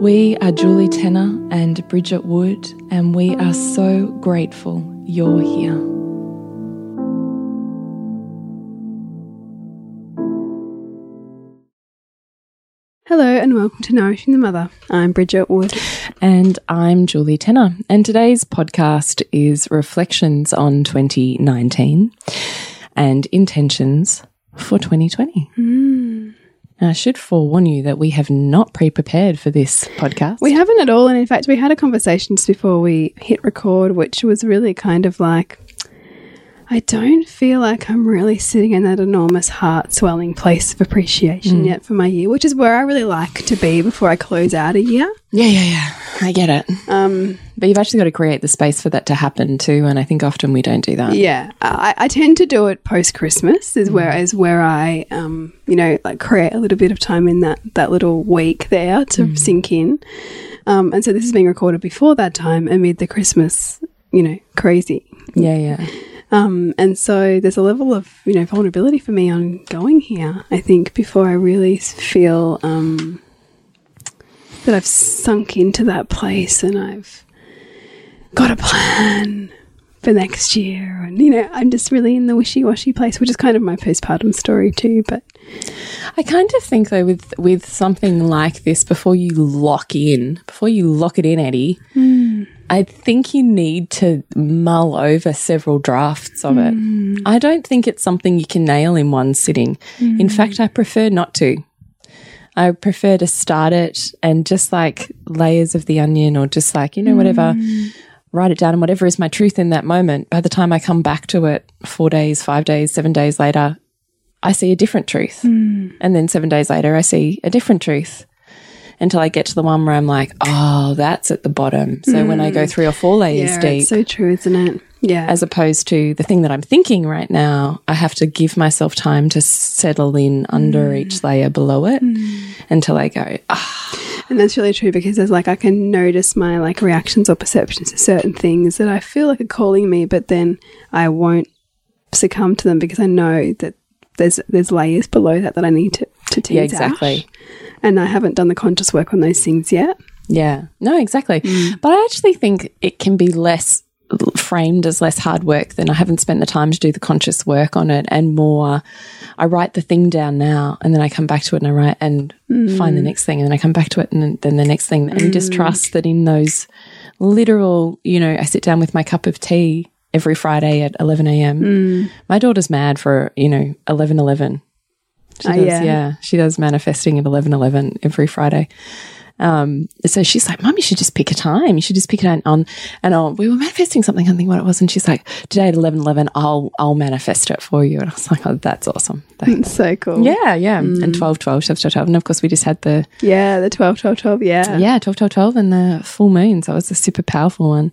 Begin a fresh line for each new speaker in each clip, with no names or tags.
We are Julie Tenner and Bridget Wood, and we are so grateful you're here.
Hello and welcome to Nourishing the Mother. I'm Bridget Wood.
And I'm Julie Tenner, and today's podcast is Reflections on 2019 and Intentions for 2020. Mm. Now, I should forewarn you that we have not pre prepared for this podcast.
We haven't at all, and in fact, we had a conversation just before we hit record, which was really kind of like, I don't feel like I'm really sitting in that enormous heart swelling place of appreciation yet for my year, which is where I really like to be before I close out a year.
yeah, yeah, yeah. I get it.
Um,
But you've actually got to create the space for that to happen too. And I think often we don't do that.
yeah, I, I tend to do it post Christmas, is where is where I, um, you know, like create a little bit of time in that that little week there to sink in. Um, and so this is being recorded before that time, amid the Christmas, you know, crazy.
Yeah, yeah.
Um, and so there's a level of you know vulnerability for me on going here. I think before I really s- feel um, that I've sunk into that place and I've got a plan for next year, and you know I'm just really in the wishy-washy place, which is kind of my postpartum story too. But
I kind of think though with with something like this before you lock in, before you lock it in, Eddie, I think you need to mull over several drafts of it.
Mm.
I don't think it's something you can nail in one sitting.
Mm.
In fact, I prefer not to. I prefer to start it and just like layers of the onion or just like, you know, whatever,
Mm.
write it down and whatever is my truth in that moment. By the time I come back to it four days, five days, seven days later, I see a different truth.
Mm.
And then seven days later, I see a different truth until I get to the one where I'm like, oh, that's at the bottom. So when I go three or four layers
Mm. yeah,
deep,
it's so true, isn't it? Yeah,
as opposed to the thing that I'm thinking right now, I have to give myself time to settle in under each layer below it until I go, ah,
And that's really true because there's like I can notice my like reactions or perceptions to certain things that I feel like are calling me, but then I won't succumb to them because I know that there's there's layers below that that I need to to tease
yeah, exactly.
out. And I haven't done the conscious work on those things yet.
Yeah, no, exactly. But I actually think it can be less framed as less hard work than I haven't spent the time to do the conscious work on it and more I write the thing down now and then I come back to it and I write and find the next thing and then I come back to it and then- then the next thing and just trust that in those literal, you know, I sit down with my cup of tea every Friday at 11 a.m. My daughter's mad for, you know, 11 11. She
Oh,
does,
yeah.
yeah. She does manifesting at eleven eleven every Friday. Um, so she's like, Mum, you should just pick a time. You should just pick it on. on and on. we were manifesting something. I think what it was. And she's like, today at eleven eleven, I'll, I'll manifest it for you. And I was like, oh, that's awesome. Thanks.
It's so cool.
Yeah, yeah. And 12, 12, 12, 12, 12. And of course, we just had the,
Yeah, the 12, 12, 12, yeah.
yeah, 12, 12, 12 and the full moon. So it was a super powerful one.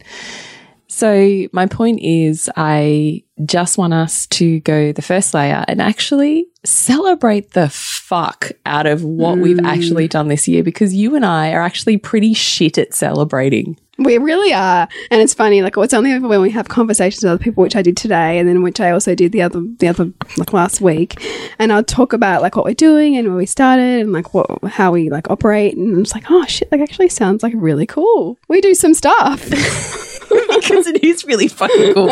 So my point is I just want us to go the first layer and actually celebrate the fuck out of what we've actually done this year because you and I are actually pretty shit at celebrating.
We really are, and it's funny. Like it's only when we have conversations with other people, which I did today, and then which I also did the other the other like last week. And I'll talk about like what we're doing and where we started and like what how we like operate, and it's like oh shit, like actually sounds like really cool. We do some stuff.
because it is really fucking cool.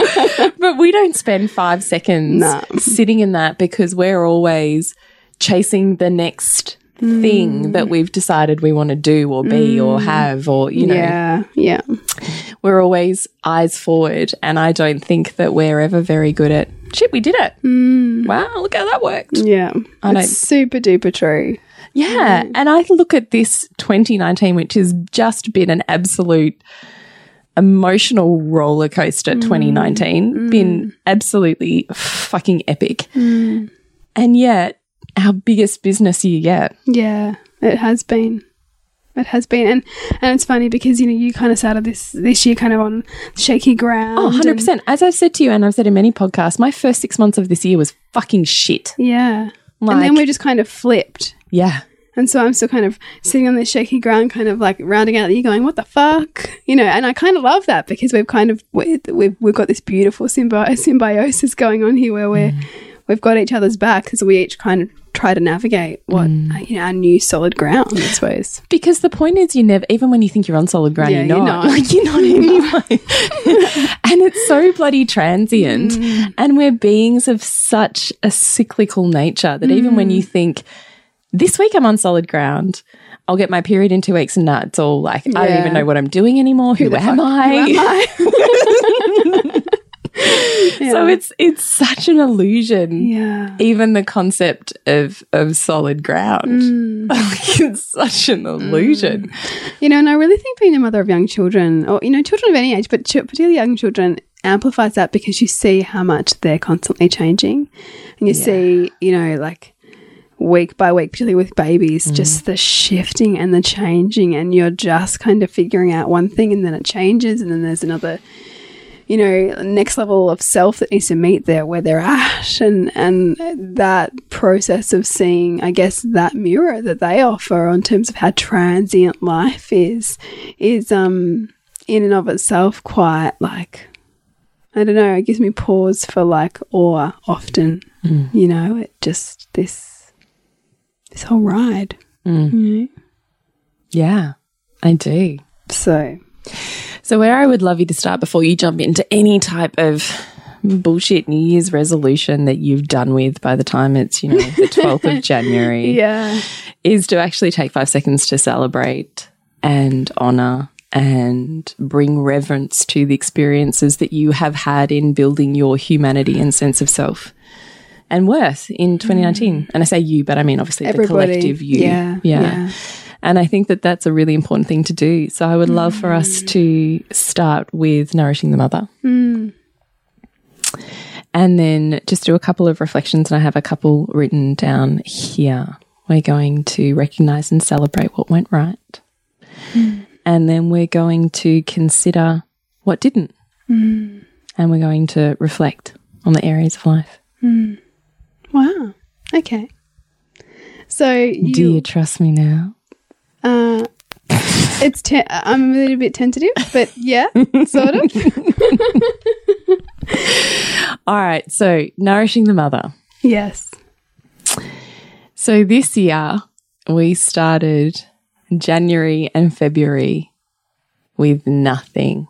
but we don't spend five seconds
No.
sitting in that because we're always chasing the next thing that we've decided we want to do or be or have or, you know,
yeah, yeah.
we're always eyes forward. And I don't think that we're ever very good at shit, we did it. Wow, look how that worked.
Yeah.
I
it's super duper true.
Yeah.
Mm.
And I look at this 2019, which has just been an absolute emotional roller coaster
Mm.
2019, been absolutely fucking epic.
Mm.
And yet, our biggest business year yet.
Mm. Yeah, it has been. It has been. And and it's funny because, you know, you kind of started this this year kind of on shaky ground.
Oh,
and-
100%. As I've said to you, and I've said in many podcasts, my first six months of this year was fucking shit.
yeah.
Like-
and then we just kind of flipped.
Yeah.
And so I'm still kind of sitting on this shaky ground, kind of like rounding out the year, going, "What the fuck?" You know. And I kind of love that because we've kind of we- we've we've got this beautiful symbi- symbiosis going on here, where we're we've got each other's back because we each kind of try to navigate what you know our new solid ground, I suppose.
Because the point is, you never, even when you think you're on solid ground,
Yeah,
you're,
you're
not.
not.
Like, you're not anyway. and it's so bloody transient.
Mm.
And we're beings of such a cyclical nature that even
Mm.
when you think, this week I'm on solid ground, I'll get my period in two weeks, and nah, it's all like, I don't
Yeah.
even know what I'm doing anymore. Who, am, I? So it's it's such an illusion.
Yeah.
Even the concept of of solid ground, it's such an illusion.
You know, and I really think being a mother of young children, or you know, children of any age, but ch- particularly young children, amplifies that because you see how much they're constantly changing, and you see, you know, like week by week, particularly with babies, just the shifting and the changing, and you're just kind of figuring out one thing, and then it changes, and then there's another. You know, next level of self that needs to meet there where they're at, and and that process of seeing, I guess, that mirror that they offer in terms of how transient life is, is um in and of itself quite like I don't know. It gives me pause for like awe often. You know, it just this this whole ride.
Yeah, I do.
So
So, where I would love you to start before you jump into any type of bullshit New Year's resolution that you've done with by the time it's, you know, the 12th of January,
yeah,
is to actually take five seconds to celebrate and honor and bring reverence to the experiences that you have had in building your humanity and sense of self and worth in 2019. And I say you, but I mean, obviously,
Mm. Everybody.
the collective you.
Yeah,
yeah.
yeah.
And I think that that's a really important thing to do. So I would love for
Mm.
us to start with nourishing the mother. And then just do a couple of reflections. And I have a couple written down here. We're going to recognize and celebrate what went right. And then we're going to consider what didn't. And we're going to reflect on the areas of life.
wow. Okay. So you,
Do you trust me now?
Uh, it's te- I'm a little bit tentative, but yeah, sort of.
All right. So, nourishing the mother.
Yes.
So this year we started January and February with nothing.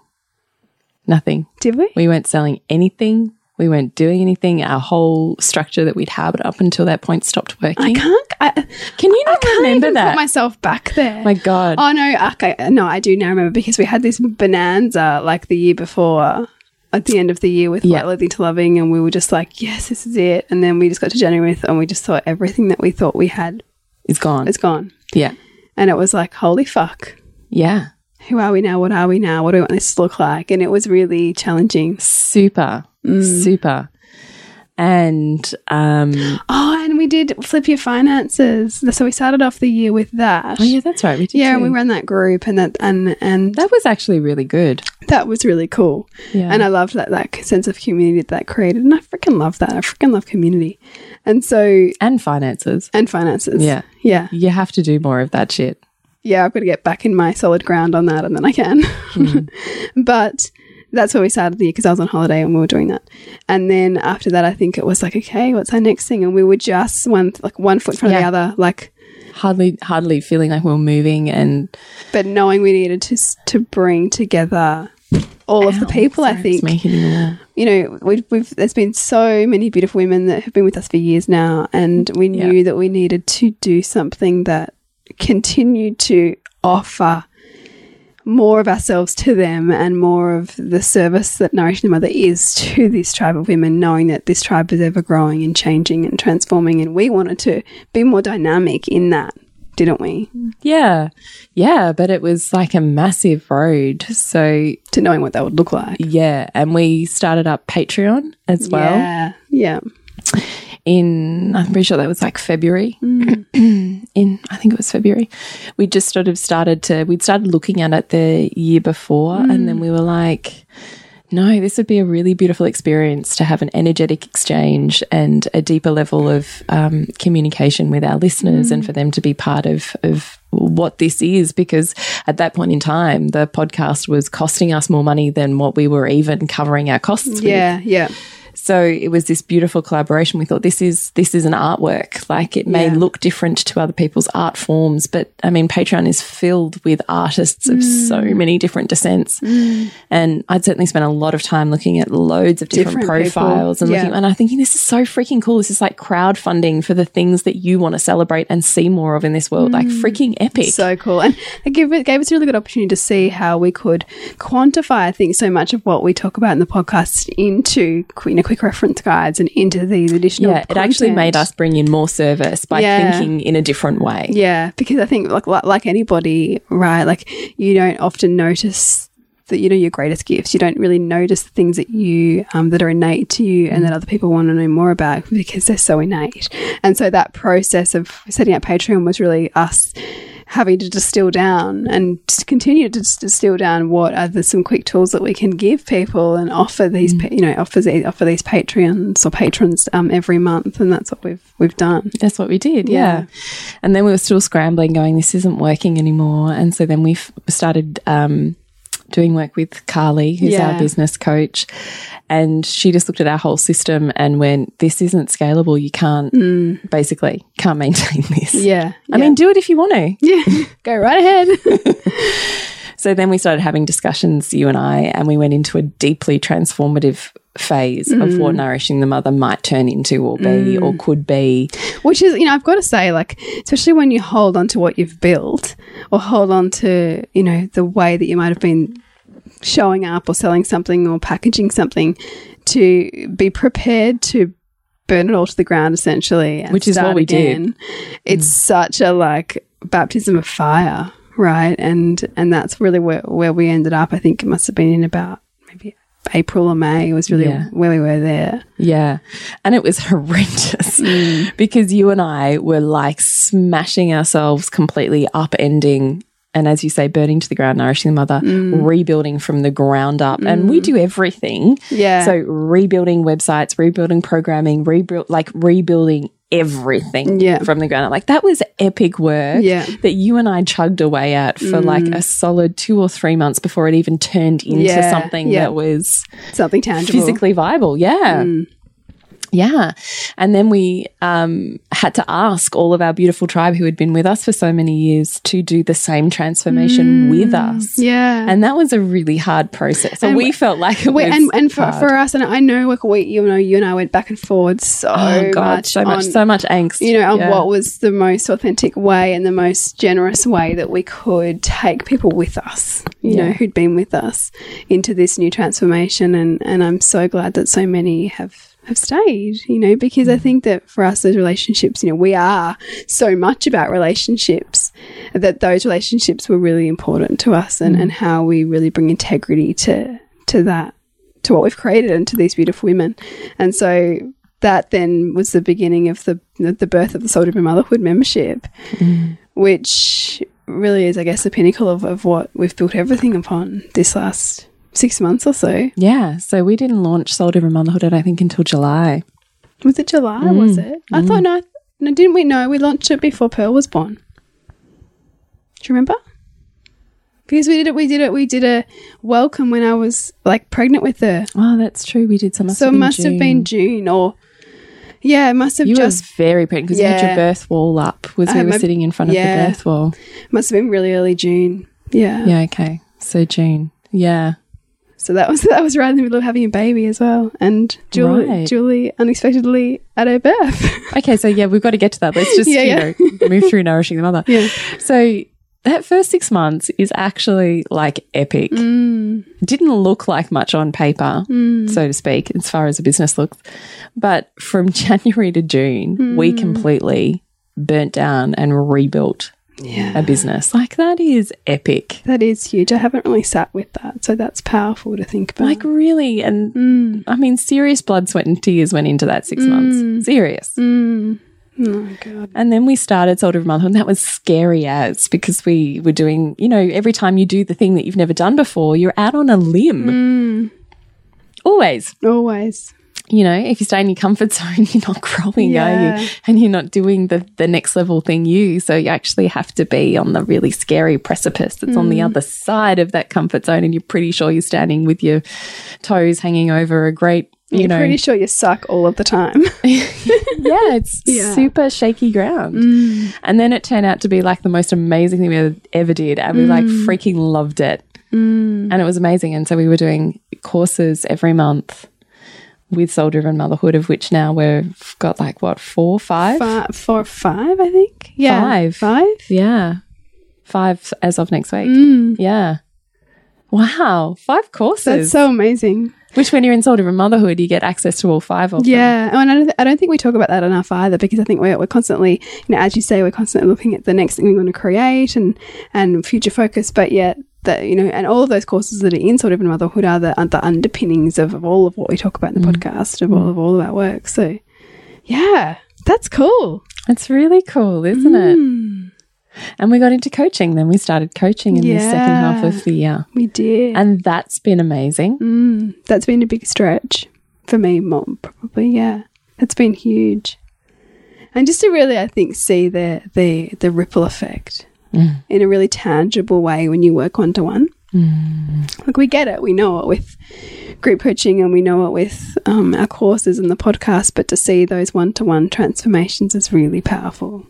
Nothing.
Did we?
We weren't selling anything. We weren't doing anything. Our whole structure that we'd harbored up until that point stopped
I
working.
can't. I,
Can you
I
not
can't
remember
even
that?
put
My,
myself back there.
God.
Oh no, okay, no, I do now remember because we had this bonanza like the year before at the end of the year with
Yeah.
yeah. Lightly to Loving, and we were just like, yes, this is it. And then we just got to January and we just thought everything that we thought we had
it's gone.
is gone,
yeah.
and it was like, holy fuck.
Yeah.
Who are we now? What are we now? What do we want this to look like? And it was really challenging.
Super.
Mm.
Super. And um
Oh, and we did flip your finances. So we started off the year with that.
Oh yeah, that's right. We did
Yeah,
too.
and we ran that group, and that and and
that was actually really good.
that was really cool.
Yeah.
And I loved that that sense of community that created. And I freaking love that. I freaking love community. And so
And finances.
and finances.
Yeah.
Yeah.
You have to do more of that shit.
yeah, I've got to get back in my solid ground on that and then I can.
Mm.
but that's where we started the year because I was on holiday and we were doing that. And then after that, I think it was like, okay, what's our next thing? And we were just one, like one foot in front
Yeah.
of the other, like,
Hardly, hardly feeling like we we're moving, and
but knowing we needed to, s- to bring together all of the
Ow,
people, I
sorry,
think.
it's me hitting the wall.
you know, we've, we've there's been so many beautiful women that have been with us for years now, and we
Yeah.
knew that we needed to do something that continued to offer more of ourselves to them and more of the service that Nourishing the Mother is to this tribe of women, knowing that this tribe is ever growing and changing and transforming, and we wanted to be more dynamic in that, didn't we?
Yeah, yeah, but it was like a massive road. So
To knowing what that would look like.
yeah, and we started up Patreon as well.
yeah, yeah,
in I'm pretty sure that was like February. in I think it was February. We just sort of started to we'd started looking at it the year before and then we were like no, this would be a really beautiful experience to have an energetic exchange and a deeper level of um, communication with our listeners and for them to be part of, of what this is. Because at that point in time, the podcast was costing us more money than what we were even covering our costs with.
yeah, yeah.
So it was this beautiful collaboration. We thought this is this is an artwork. Like it may
Yeah.
look different to other people's art forms, but I mean Patreon is filled with artists of so
Mm.
many different descents. And I'd certainly spent a lot of time looking at loads of different,
Different people.
profiles and
Yeah.
looking and I'm thinking this is so freaking cool. This is like crowdfunding for the things that you want to celebrate and see more of in this world. Like freaking epic.
Mm. So cool. And it gave, it gave us a really good opportunity to see how we could quantify, I think, so much of what we talk about in the podcast into qu- you know, quick reference guides and into these additional.
yeah, it actually made
content.
us bring in more service by
Yeah.
thinking in a different way.
Yeah, because I think like like, like anybody, right? Like you don't often notice that you know your greatest gifts. You don't really notice the things that you um, that are innate to you and that other people want to know more about because they're so innate. And so that process of setting up Patreon was really us having to distill down and just continue to dis- distill down what are the, some quick tools that we can give people and offer these
Mm.
pa you know offer the- offer these patreons or patrons um, every month and that's what we've we've done
That's what we did, yeah.
Yeah.
And then we were still scrambling, going, "This isn't working anymore." And so then we f- started um, doing work with Carly, who's our
Yeah.
business coach, and she just looked at our whole system and went, "This isn't scalable. You can't basically can't maintain this."
Mm. yeah
I mean, do it if you want to.
yeah go right ahead
So then we started having discussions, you and I, and we went into a deeply transformative phase
Mm.
of what nourishing the mother might turn into or be or could be.
Which is, you know, I've got to say, like, especially when you hold on to what you've built or hold on to, you know, the way that you might have been showing up or selling something or packaging something to be prepared to burn it all to the ground essentially and
Which is what
start
we Mm. did.
again. It's such a like baptism of fire, right? And and that's really where where we ended up. I think it must have been in about maybe April or May was really
Yeah.
where we were there.
Yeah. And it was horrendous
Mm.
because you and I were like smashing ourselves completely, upending. And as you say, burning to the ground, nourishing the mother,
Mm.
rebuilding from the ground up. And we do everything.
Yeah.
So rebuilding websites, rebuilding programming, rebuild like rebuilding everything
Yeah.
from the ground up. Like that was epic work
Yeah. Mm.
that you and I chugged away at for like a solid two or three months before it even turned into
Yeah.
something
Yeah.
that was
Something tangible.
physically viable. Yeah.
Mm.
Yeah. And then we um, had to ask all of our beautiful tribe who had been with us for so many years to do the same transformation with us.
Mm. Yeah.
And that was a really hard process. And,
And
we
we-
felt like it
We,
was
and and for,
hard.
for us, and I know, like we, you know, you and I went back and forward so
oh god,
much,
so much,
on,
so much angst.
you know, on
Yeah.
what was the most authentic way and the most generous way that we could take people with us, you know, who'd been with us into this new transformation, and and I'm so glad that so many have have stayed, you know, because I think that for us as relationships, you know, we are so much about relationships that those relationships were really important to us, and and how we really bring integrity to to that to what we've created and to these beautiful women. And so that then was the beginning of the the birth of the Soul Driven Motherhood membership, which really is, I guess, the pinnacle of, of what we've built everything upon this last six months or so.
Yeah. So we didn't launch Soul Driven Motherhood, I don't think, until July.
Was it July? Was it? I thought no, no, didn't we? No, we launched it before Pearl was born. Do you remember? Because we did it, we did it, we did a welcome when I was like pregnant with her.
Oh, that's true. We did some.
so it must have been June or yeah, it must have
You
just
were very pregnant because you had your
Yeah.
birth wall up. Was
I
we
had
were
my-
sitting in front
Yeah.
of the birth wall.
must have been really early June. Yeah.
Yeah. Okay. So June. Yeah.
So that was that was right in the middle of having a baby as well, and Julie
Right.
Julie unexpectedly at her birth.
Okay. So yeah, we've got to get to that. Let's just
Yeah,
you know move through nourishing the mother.
yeah.
So that first six months is actually like epic.
Mm.
Didn't look like much on paper, so to speak, as far as a business looks. But from January to June,
Mm.
we completely burnt down and rebuilt
Yeah.
a business. Like that is epic.
That is huge. I haven't really sat with that, so that's powerful to think about.
Like really and
mm,
I mean serious blood, sweat and tears went into that six months. Serious.
mm. Oh god.
And then we started Salt of Motherhood, and that was scary as because we were doing, you know, every time you do the thing that you've never done before, you're out on a limb.
Mm.
Always.
Always.
You know, if you stay in your comfort zone, you're not growing, are
Yeah.
you? And you're not doing the, the next level thing you. So you actually have to be on the really scary precipice that's on
Mm.
the other side of that comfort zone. And you're pretty sure you're standing with your toes hanging over a great, you
You're
know,
pretty sure you suck all of the time.
yeah, it's
Yeah. Mm.
super shaky ground. And then it turned out to be like the most amazing thing we ever did. And we like
Mm.
freaking loved it. And it was amazing. And so we were doing courses every month with Soul Driven Motherhood, of which now we've got like what, four, five?
Fi- four, five, I think. Yeah,
Five.
five.
Yeah. Five as of next week. Yeah. Wow. Five
Mm. That's
courses.
so amazing.
which when you're in Soul Driven Motherhood, you get access to all five of them.
Yeah, oh, and I don't, th- I don't think we talk about that enough either because I think we're, we're constantly, you know, as you say, we're constantly looking at the next thing we want to create and and future focus. But yet, that you know, and all of those courses that are in sort of motherhood are the, are the underpinnings of, of all of what we talk about in the podcast, of all of all of our work. So, yeah, that's cool.
It's really cool, isn't it?
Mm.
And we got into coaching. Then we started coaching in the second half
Yeah.
of the year.
We did.
And that's been amazing.
mm, that's been a big stretch for me, mom. Probably, yeah, that's been huge. And just to really, I think, see the the the ripple effect in a really tangible way when you work one to one. Like we get it, we know it with group coaching, and we know it with um, our courses and the podcast. But to see those one to one transformations is really powerful.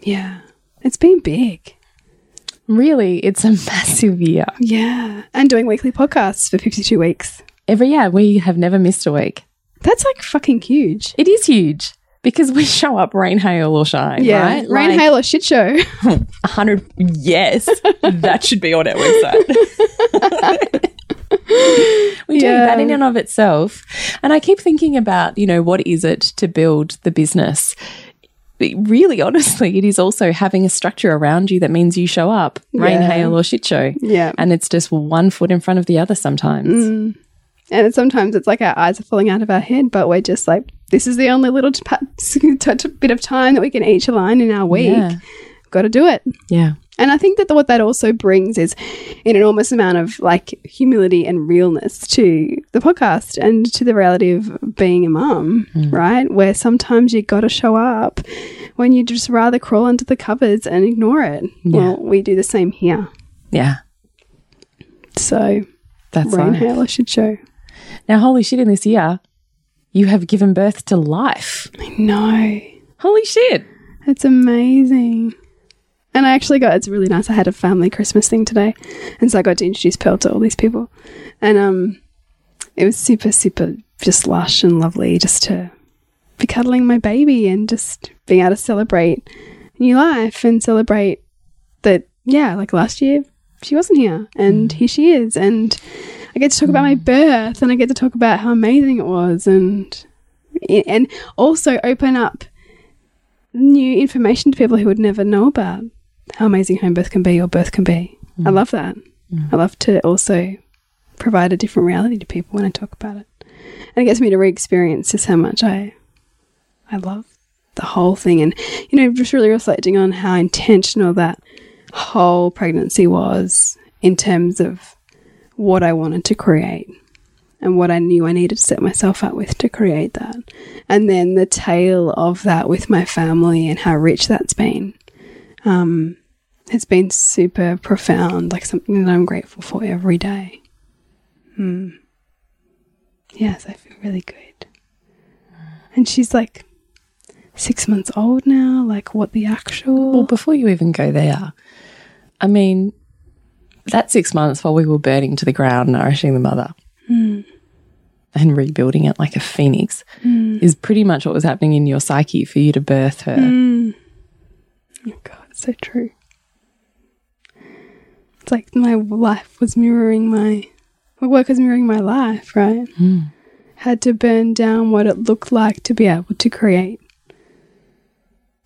Yeah, it's been big.
Really, it's a massive year.
Yeah, and doing weekly podcasts for fifty two weeks.
Every year, we have never missed a week.
That's like fucking huge.
It is huge because we show up rain, hail, or shine.
Yeah,
right?
rain,
Like,
hail, or shit show.
100 yes that should be on our website we do
Yeah.
that in and of itself and i keep thinking about you know what is it to build the business But really honestly it is also having a structure around you that means you show up rain
Yeah.
hail or shit show
yeah, Mm.
and it's just one foot in front of the other sometimes
and it's, sometimes it's like our eyes are falling out of our head, but we're just like, this is the only little t- pa- t- t- bit of time that we can each align in our week.
Yeah.
Got to do it.
yeah
And I think that what that also brings is an enormous amount of like humility and realness to the podcast and to the reality of being a mum, right? Where sometimes you got to show up when you just rather crawl under the covers and ignore it. Well, we do the same here.
yeah
So
that's
Rain
right
Hail, I should show.
now holy shit in this year you have given birth to life
No,
holy shit
it's amazing. And I actually got it's really nice. I had a family Christmas thing today, and so I got to introduce Pearl to all these people, and um, it was super, super just lush and lovely just to be cuddling my baby and just being able to celebrate new life and celebrate that yeah, like last year she wasn't here and here she is, and I get to talk about my birth and I get to talk about how amazing it was and and also open up new information to people who would never know about how amazing home birth can be or birth can be. I love that. I love to also provide a different reality to people when I talk about it. And it gets me to re experience just how much I I love the whole thing and you know, just really reflecting on how intentional that whole pregnancy was in terms of what I wanted to create and what I knew I needed to set myself up with to create that. And then the tale of that with my family and how rich that's been. Um, has been super profound, like something that I'm grateful for every day. Hmm. Yes, I feel really good. And she's like six months old now. Like, what the
Well,
actual?
before you even go there, I mean, that six months while we were burning to the ground, nourishing the mother
Hmm.
and rebuilding it like a phoenix
Hmm.
is pretty much what was happening in your psyche for you to birth her.
Mm. Oh God, it's so true. It's like my life was mirroring my, my work was mirroring my life, right? Had to burn down what it looked like to be able to create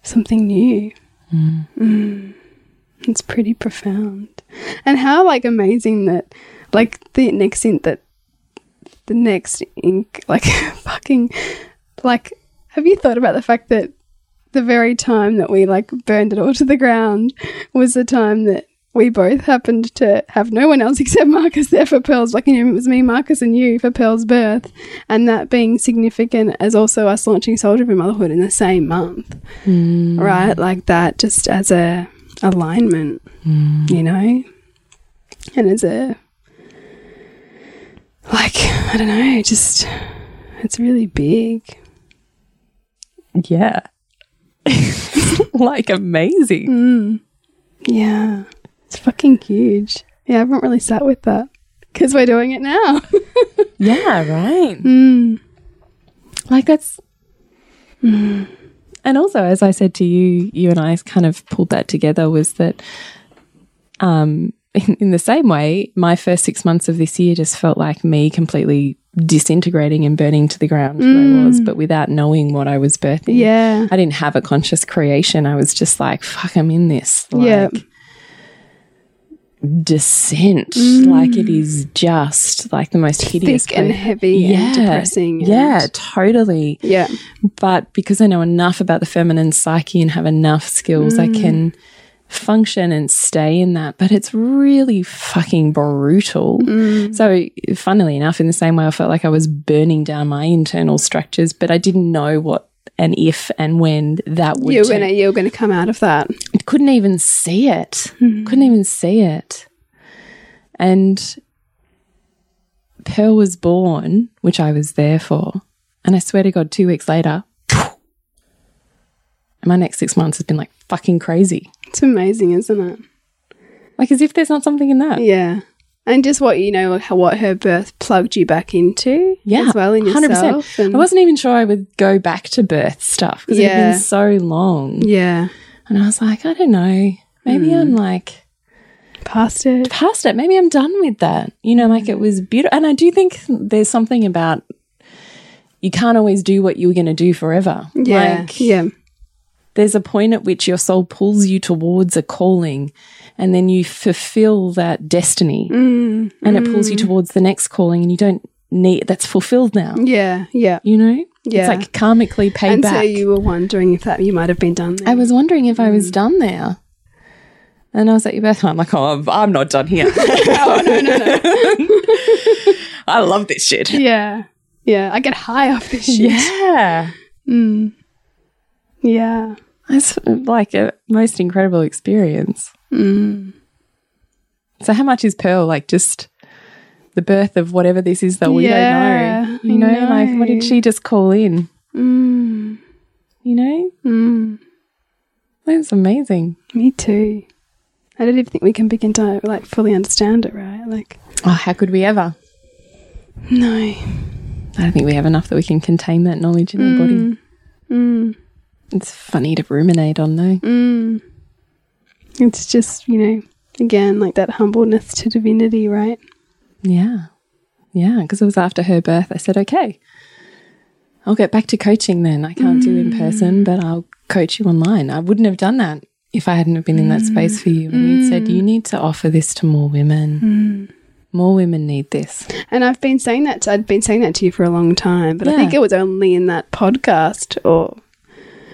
something new. Mm. It's pretty profound. And how like amazing that, like the next in that, the next ink, like fucking, like, have you thought about the fact that the very time that we like burned it all to the ground was the time that we both happened to have no one else except Marcus there for Pearl's. Like, you know, it was me, Marcus, and you for Pearl's birth, and that being significant as also us launching Soldier for Motherhood in the same month, right? Like that, just as a alignment, you know, and as a like I don't know, just it's really big.
Yeah. like amazing.
Mm. Yeah, it's fucking huge. Yeah, I haven't really sat with that because we're doing it now. Mm.
Yeah, right. Like that's. mm. And also, as I said to you, you and I kind of pulled that together was that, um, in, in the same way, my first six months of this year just felt like me completely disintegrating and burning to the ground who I was, but without knowing what I was birthing.
Mm. yeah,
I didn't have a conscious creation. I was just like, fuck, I'm in this. Like,
Yeah.
Descent. Like, it is just like the most hideous.
Mm. thick and
place.
heavy and depressing. and-
Yeah, totally.
yeah,
But because I know enough about the feminine psyche and have enough skills, I
Mm.
can function and stay in that. But it's really fucking brutal.
Mm.
So, funnily enough, in the same way, I felt like I was burning down my internal structures, but I didn't know what and if and when that would
you're
turn-
gonna you're gonna come out of that.
couldn't even see it.
Hmm.
Couldn't even see it. And Pearl was born, which I was there for. And I swear to God, two weeks later, my next six months has been like fucking crazy.
It's amazing, isn't it?
Like as if there's not something in that.
Yeah, and just what you know, how- what her birth plugged you back into. as well in yourself. And
I wasn't even sure I would go back to birth stuff because it had
Yeah.
been so long.
Yeah,
And I was like, I don't know. Maybe
Hmm.
I'm like
past it.
past it. Maybe I'm done with that. You know, like
Mm.
it was beautiful. And I do think there's something about you can't always do what you were going to do forever.
Yeah,
Like,
yeah,
there's a point at which your soul pulls you towards a calling and then you fulfill that destiny
Mm,
and it pulls you towards the next calling and you don't need that's fulfilled now.
yeah, yeah.
You know?
Yeah.
It's like karmically paid
And
back.
so you were wondering if that you might have been done there.
I was wondering if I was done there. And I was at your birth, and I'm like, oh, I'm- I'm not done here. Oh, I love this shit.
yeah, yeah. I get high off this shit.
Yeah.
yeah.
It's like a most incredible experience. Hmm. So, how much is Pearl? Like, just the birth of whatever this is that we
Yeah,
don't know. You know, Hmm.
I
like, what did she just call in? You know? That's amazing.
Mm, Me too. I don't even think we can begin to like fully understand it, right? Like,
Oh, how could we ever?
no.
I don't think we have enough that we can contain that knowledge in the body.
mm,
It's funny to ruminate on, though.
It's just, you know, again, like that humbleness to divinity, right?
Yeah. Yeah. Because it was after her birth. I said, okay, I'll get back to coaching then. I can't do in person, but I'll coach you online. I wouldn't have done that if I hadn't have been in that space for you. And you said, you need to offer this to more women. More women need this.
And I've been saying that, to, I'd been saying that to you for a long time, but I
Yeah.
think it was only in that podcast or.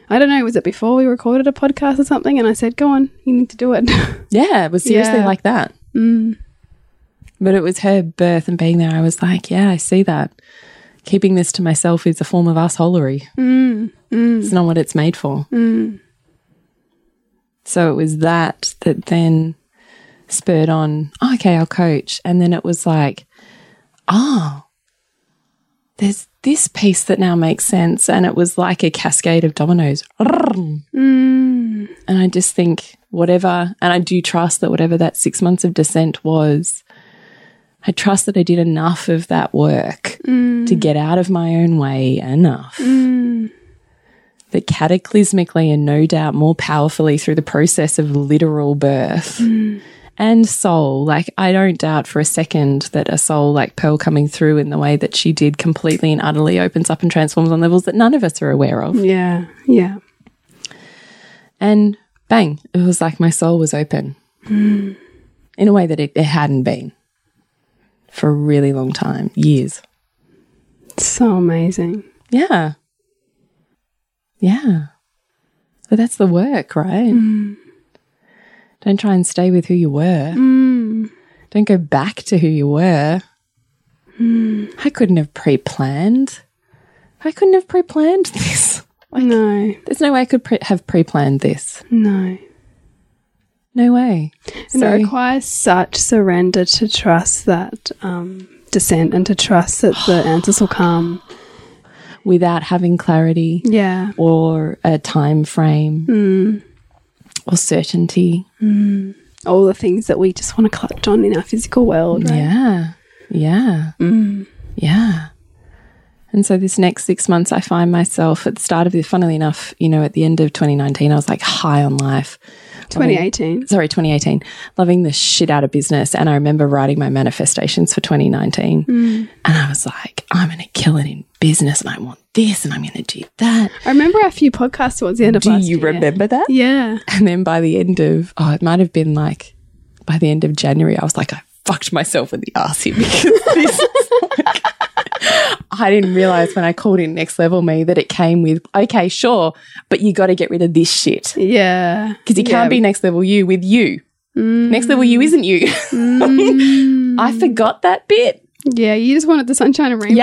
I don't know, was it before we recorded a podcast or something? And I said, go on, you need to do it. Mm.
Yeah. It was seriously
Yeah.
like that. But it was her birth and being there. I was like, yeah, I see that. Keeping this to myself is a form of assholery. It's not what it's made for. So it was that that then spurred on, oh, okay, I'll coach. And then it was like, oh, there's this piece that now makes sense. And it was like a cascade of dominoes.
Mm.
And I just think, whatever, and I do trust that whatever that six months of descent was, I trust that I did enough of that work to get out of my own way enough. That cataclysmically and no doubt more powerfully through the process of literal birth and soul, like I don't doubt for a second that a soul like Pearl coming through in the way that she did completely and utterly opens up and transforms on levels that none of us are aware of.
Yeah. Yeah.
And bang, it was like my soul was open in a way that it, it hadn't been for a really long time years.
So amazing.
Yeah. Yeah. But that's the work, right? Don't try and stay with who you were. Don't go back to who you were. I couldn't have pre planned. I couldn't have pre planned this.
no.
There's no way I could pre- have pre planned this.
No.
No way.
And
So-
it requires such surrender to trust that um, descent and to trust that the answers will come.
without having clarity
Yeah.
or a time frame or certainty.
All the things that we just want to clutch on in our physical world. Right?
Yeah. Yeah. Hmm. Yeah. And so this next six months, I find myself at the start of the, funnily enough, you know, at the end of 2019, I was like high on life.
2018.
Sorry, 2018, loving the shit out of business. And I remember writing my manifestations for 2019. And I was like, I'm going to kill it in business and I want this and I'm going to do that.
I remember a few podcasts towards the end of
Do
last
you
year.
remember that?
Yeah.
And then by the end of, oh, it might have been like by the end of January, I was like, I fucked myself with the arse here because this is like, I didn't realize when I called in Next Level Me that it came with, okay, sure, but you got to get rid of this shit
Yeah.
because you can't be Next Level You with you. Next Level You isn't you. I forgot that bit.
Yeah. You just wanted the sunshine and rainbows.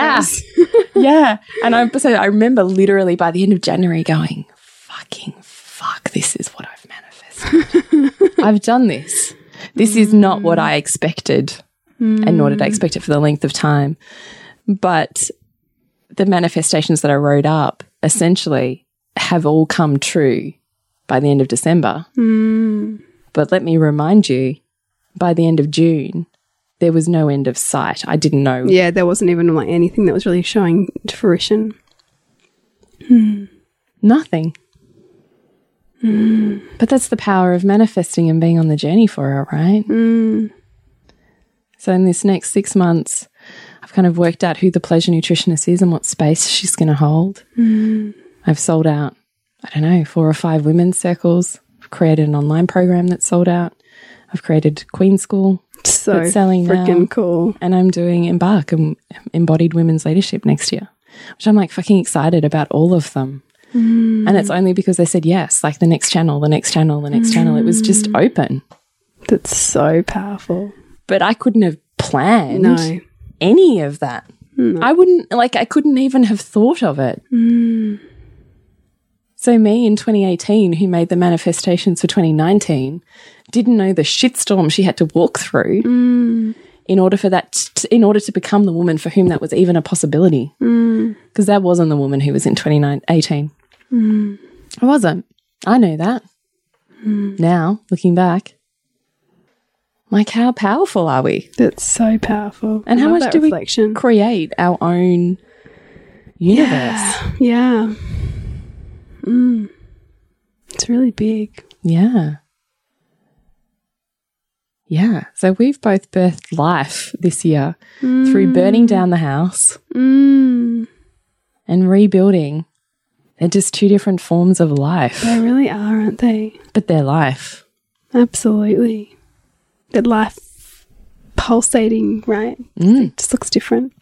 Yeah. yeah. And I, so I remember literally by the end of January going, fucking fuck, this is what I've manifested. I've done this. This is not what I expected, and nor did I expect it for the length of time. But the manifestations that I wrote up essentially have all come true by the end of December. But let me remind you, by the end of June, there was no end of sight. I didn't know
Yeah. There wasn't even like anything that was really showing to fruition.
Nothing. But that's the power of manifesting and being on the journey for it, right? So, in this next six months, I've kind of worked out who the pleasure nutritionist is and what space she's going to hold. I've sold out, I don't know, four or five women's circles. I've created an online program that's sold out. I've created Queen School,
So
It's selling now.
freaking cool.
and I'm doing Embark and Embodied Women's Leadership next year, which I'm like fucking excited about all of them. And it's only because they said yes, like the next channel, the next channel, the next channel. It was just open.
That's so powerful.
But I couldn't have planned
No.
any of that. I wouldn't, like, I couldn't even have thought of it. So, me in 2018, who made the manifestations for 2019, didn't know the shitstorm she had to walk through in order for that, t- in order to become the woman for whom that was even a possibility. Because that wasn't the woman who was in 2018. I wasn't. I know that. Now, looking back, like, how powerful are we?
That's so powerful.
And how
Love
much
that
do we
reflection?
create our own universe?
Yeah. Mm. It's really big.
Yeah. Yeah. So we've both birthed life this year through burning down the house
Mm.
and rebuilding. They're just two different forms of life,
They really are, aren't they?
but they're life.
Absolutely. That life pulsating, right?
Mm,
It just looks different.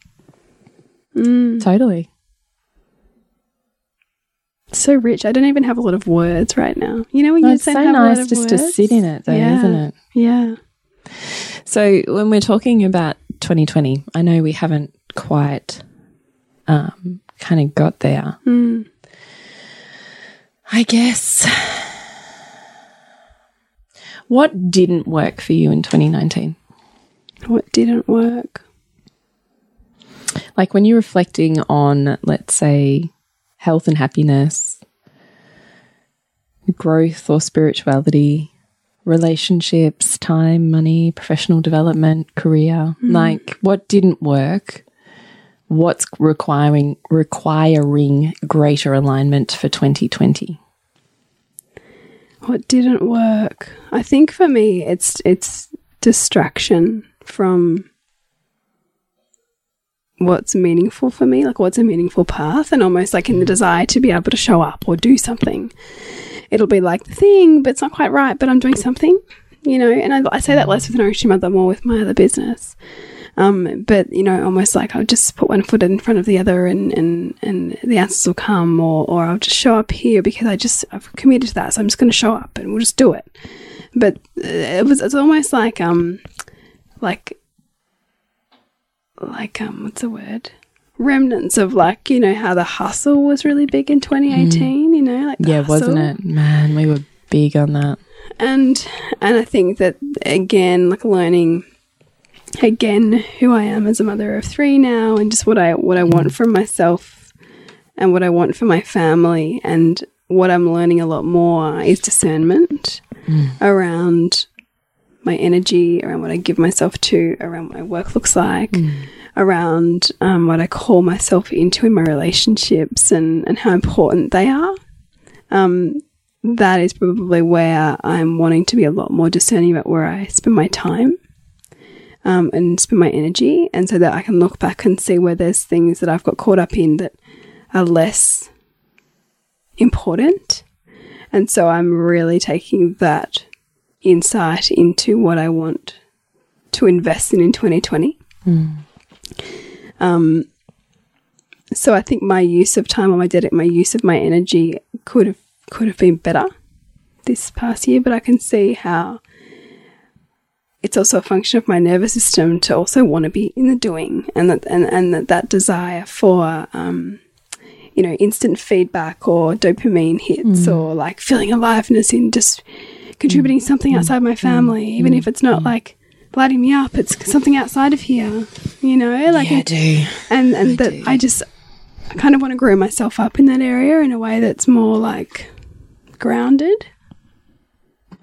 Mm.
Totally.
It's so rich. I don't even have a lot of words right now. You know when
No,
you
it's
say
so
have a lot
nice
of
just to
words?
sit in it, though,
Yeah.
isn't it?
Yeah.
So when we're talking about 2020, I know we haven't quite um, kind of got there. I guess What didn't work for you in 2019?
What didn't work?
Like when you're reflecting on, let's say, health and happiness, growth or spirituality, relationships, time, money, professional development, career, like what didn't work? What's requiring requiring greater alignment for 2020?
What didn't work? I think for me, it's it's distraction from what's meaningful for me, like what's a meaningful path, and almost like in the desire to be able to show up or do something. It'll be like the thing, but it's not quite right, but I'm doing something, you know. And I, I say that less with Nourishing Mother, more with my other business. Um, but you know, almost like I'll just put one foot in front of the other, and and and the answers will come, or or I'll just show up here because I just I've committed to that, so I'm just going to show up, and we'll just do it. But uh, it was it's almost like um like like um what's the word remnants of like you know how the hustle was really big in 2018 you know like the
Mm. yeah,
hustle
wasn't it? Man, we were big on that.
and and I think that again, like learning again who I am as a mother of three now, and just what I what I want from myself, and what I want for my family, and what I'm learning a lot more is discernment around my energy, around what I give myself to, around what my work looks like. Around um, what I call myself into in my relationships and, and how important they are that is probably where I'm wanting to be a lot more discerning about where I spend my time um, and spend my energy, and so that I can look back and see where there's things that I've got caught up in that are less important. And so I'm really taking that insight into what I want to invest in in 2020. so I think my use of time or my dedic my use of my energy could have could have been better this past year, but I can see how it's also a function of my nervous system to also want to be in the doing and that and, and that, that desire for um, you know instant feedback or dopamine hits or like feeling aliveness in just contributing something outside my family, even if it's not like lighting me up, it's something outside of here, you know, like it-
do.
and and that I just I kind of want to grow myself up in that area in a way that's more like grounded.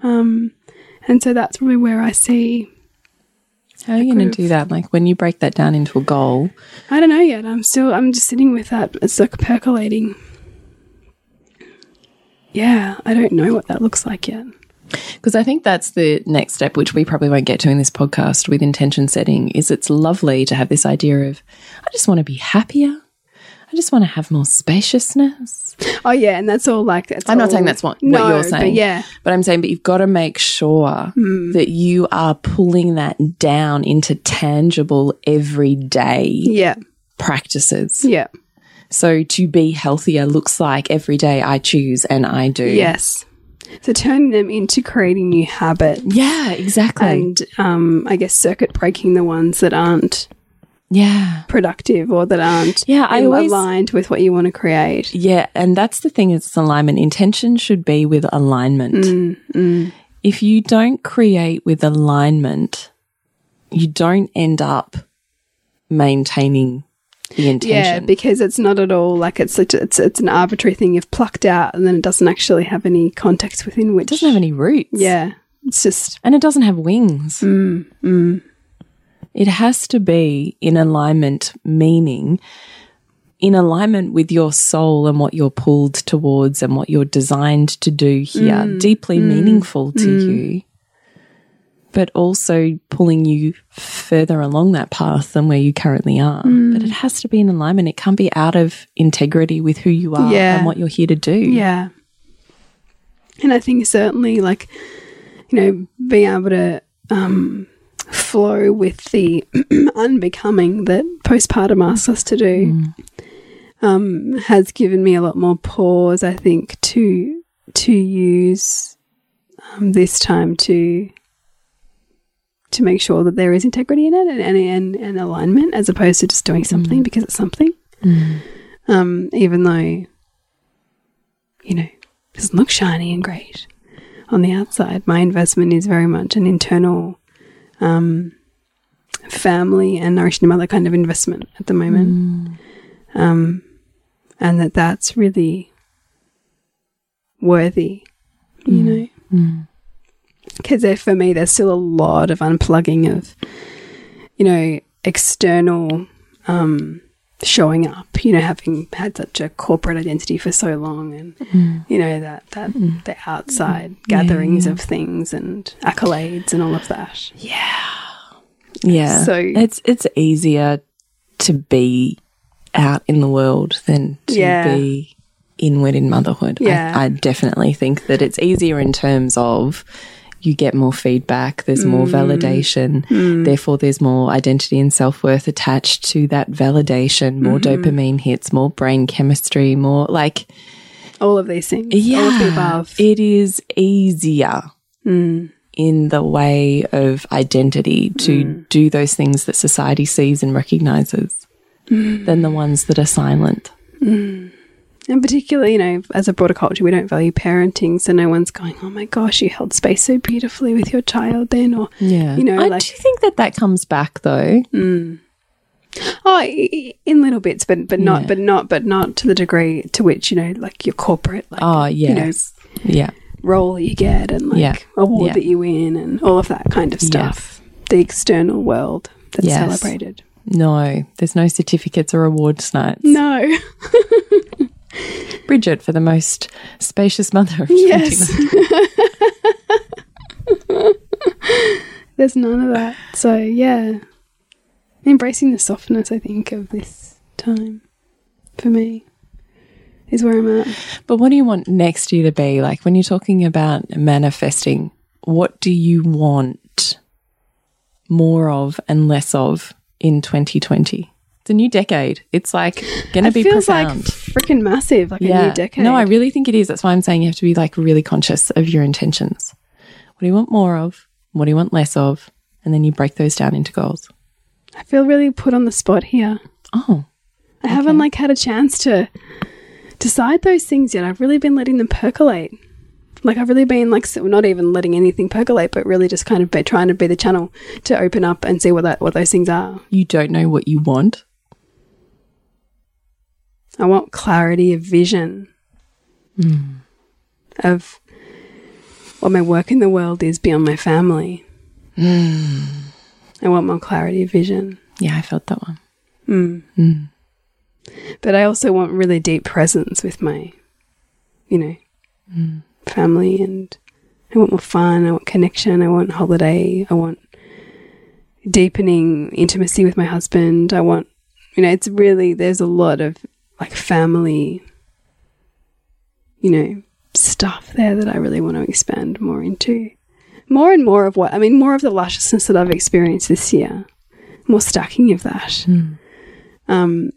Um, and so that's probably where I see.
How are you going to do that? Like when you break that down into a goal,
I don't know yet. I'm still. I'm just sitting with that. It's like percolating. Yeah, I don't know what that looks like yet.
Because I think that's the next step, which we probably won't get to in this podcast with intention setting, is it's lovely to have this idea of, I just want to be happier. I just want to have more spaciousness.
Oh yeah, and that's all like that's
I'm
all-
not saying that's what,
No,
what you're
but
saying.
yeah,
But I'm saying, but you've got to make sure
Hmm.
that you are pulling that down into tangible, everyday
yeah,
practices.
yeah,
So to be healthier looks like every day I choose and I do.
yes. So turning them into creating new habits.
Yeah, exactly.
and um, I guess circuit breaking the ones that aren't
yeah.
productive or that aren't
Yeah, I
in-
always-
aligned with what you want to create.
Yeah, and that's the thing it's alignment. Intention should be with alignment. mm. If you don't create with alignment, you don't end up maintaining the
Yeah,
intention.
because it's not at all like it's such, it's it's an arbitrary thing you've plucked out, and then it doesn't actually have any context within which.
it doesn't have any roots.
yeah, it's just
And it doesn't have wings.
Mm,
It has to be in alignment, meaning in alignment with your soul and what you're pulled towards and what you're designed to do here,
Mm,
deeply meaningful to you, but also pulling you further along that path than where you currently are.
Mm.
But it has to be in alignment. It can't be out of integrity with who you are
Yeah.
and what you're here to do.
yeah, and I think certainly like you know being able to um, flow with the unbecoming that postpartum asks us to do. um, has given me a lot more pause. I think to to use um, this time to to make sure that there is integrity in it and and, and, and alignment, as opposed to just doing something because it's something. Um, even though you know it doesn't look shiny and great, on the outside. My investment is very much an internal um, family and nourishing mother kind of investment at the moment. Um, and that that's really worthy, you know. Because for me, there's still a lot of unplugging of, you know, external um, showing up. You know, having had such a corporate identity for so long, and you know that that the outside gatherings of things and accolades and all of that.
Yeah.
So-
it's it's easier to be out in the world than to
Yeah.
be inward in motherhood.
Yeah.
I, I definitely think that it's easier in terms of you get more feedback, there's more
Mm.
validation, therefore there's more identity and self-worth attached to that validation, more
Mm-hmm.
dopamine hits, more brain chemistry, more like
All of these things.
yeah,
All of the above. Hmm.
It is easier in the way of identity to
Hmm.
do those things that society sees and recognizes
Hmm.
than the ones that are silent.
And particularly, you know, as a broader culture, we don't value parenting. So no one's going, oh my gosh, you held space so beautifully with your child then. Or,
Yeah.
you know,
I
like,
do think that that comes back though.
Mm. oh, i- i- in little bits, but, but not,
Yeah.
but not, but not to the degree to which, you know, like your corporate, like,
Oh,
you know,
yes. yeah.
role you get and like
Yeah.
award
Yeah.
that you win and all of that kind of stuff. The external world that's
Yes.
celebrated.
No, there's no certificates or awards nights.
No.
Bridget for the most spacious mother of
Yes. There's none of that. So, yeah. Embracing the softness, I think, of this time for me is where I'm at.
But what do you want next year to be? Like when you're talking about manifesting, what do you want more of and less of in 2020? It's a new decade. It's like going to
It
be
feels
profound.
like freaking massive, like a new decade.
No, I really think it is. That's why I'm saying you have to be like really conscious of your intentions. What do you want more of? What do you want less of? And then you break those down into goals.
I feel really put on the spot here.
Oh,
I haven't like had a chance to decide those things yet. I've really been letting them percolate. Like I've really been like so- not even letting anything percolate, but really just kind of be, trying to be the channel to open up and see what that what those things are.
you don't know what you want.
I want clarity of vision of what my work in the world is beyond my family. I want more clarity of vision,
Yeah, I felt that one.
Hmm. but I also want really deep presence with my, you know, family, and I want more fun. I want connection. I want holiday. I want deepening intimacy with my husband. I want, you know, it's really there's a lot of like family, you know, stuff there that I really want to expand more into. More and more of what I mean, more of the lusciousness that I've experienced this year, more stacking of that. Um,